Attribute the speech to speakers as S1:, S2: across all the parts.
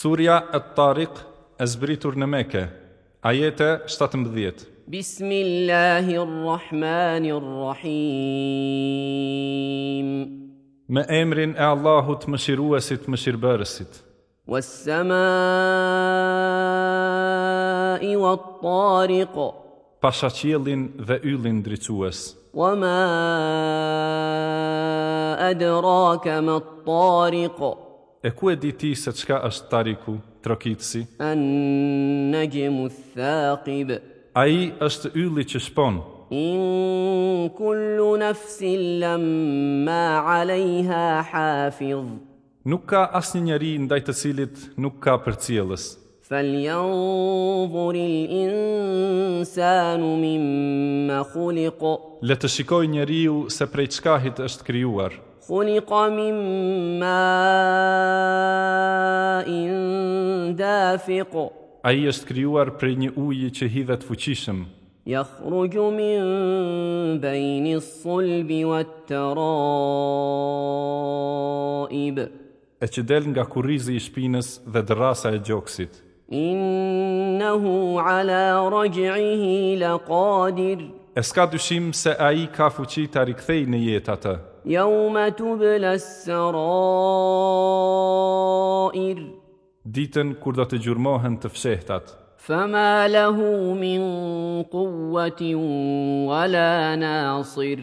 S1: Surja e Tariq e zbritur në meke, ajete 17.
S2: بسم الله الرحمن الرحيم
S1: Me emrin e Allahut më shiruesit më shirëbërësit,
S2: والسماء والطارق
S1: pasha qielin dhe yllin dricues.
S2: وما أدراك ما الطارق
S1: E ku e di ti se çka është Tariku, trokitësi?
S2: النجم الثاقب
S1: Ai është ylli që shpon.
S2: إن كل نفس لما عليها حافظ
S1: Nuk ka asnjë njeri ndaj të cilit nuk ka përcjellës.
S2: فلينظر الإنسان مما خلق
S1: Le të shikoj njeriu se prej çkahit është krijuar.
S2: خلق من ماء دافق
S1: Ai është krijuar prej një uji që hidhet fuqishëm,
S2: يخرج من بين الصلب والترائب
S1: e që del nga kurrizi i shpinës dhe dërrasa e gjoksit.
S2: إنه على رجعه لقادر
S1: E s'ka dyshim se a i ka fuqi të rikthej në jetë atë,
S2: يوم تبلى السرائر
S1: ditën kur do të gjurmohen të fshehtat.
S2: فما له من قوة ولا ناصر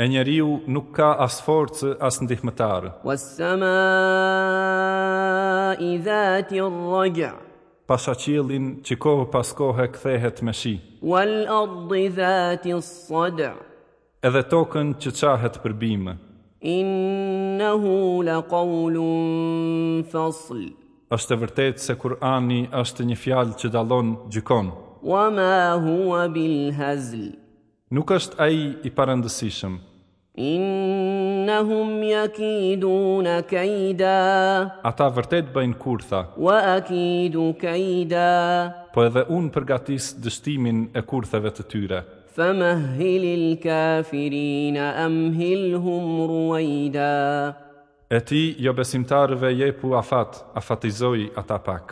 S1: E njeriu nuk ka as forcë, as ndihmëtarë,
S2: والسماء ذات الرجع
S1: pasha qilin që kohë pas kohë kthehet me shi,
S2: والأرض ذات الصدع
S1: edhe tokën që qahet për bimë.
S2: إنه لقول فصل
S1: është e vërtet se Kurani është një fjalë që dalon gjykon.
S2: وما هو بالهزل
S1: Nuk është ai i parandësishëm.
S2: إنهم يكيدون كيدا
S1: Ata vërtet bëjnë kurtha,
S2: وأكيد كيدا
S1: po edhe unë përgatis dështimin e kurtheve të tyre.
S2: فمهل الكافرين أمهلهم رويدا
S1: E ti, jo besimtarëve, jepu afat, afatizoj ata pak.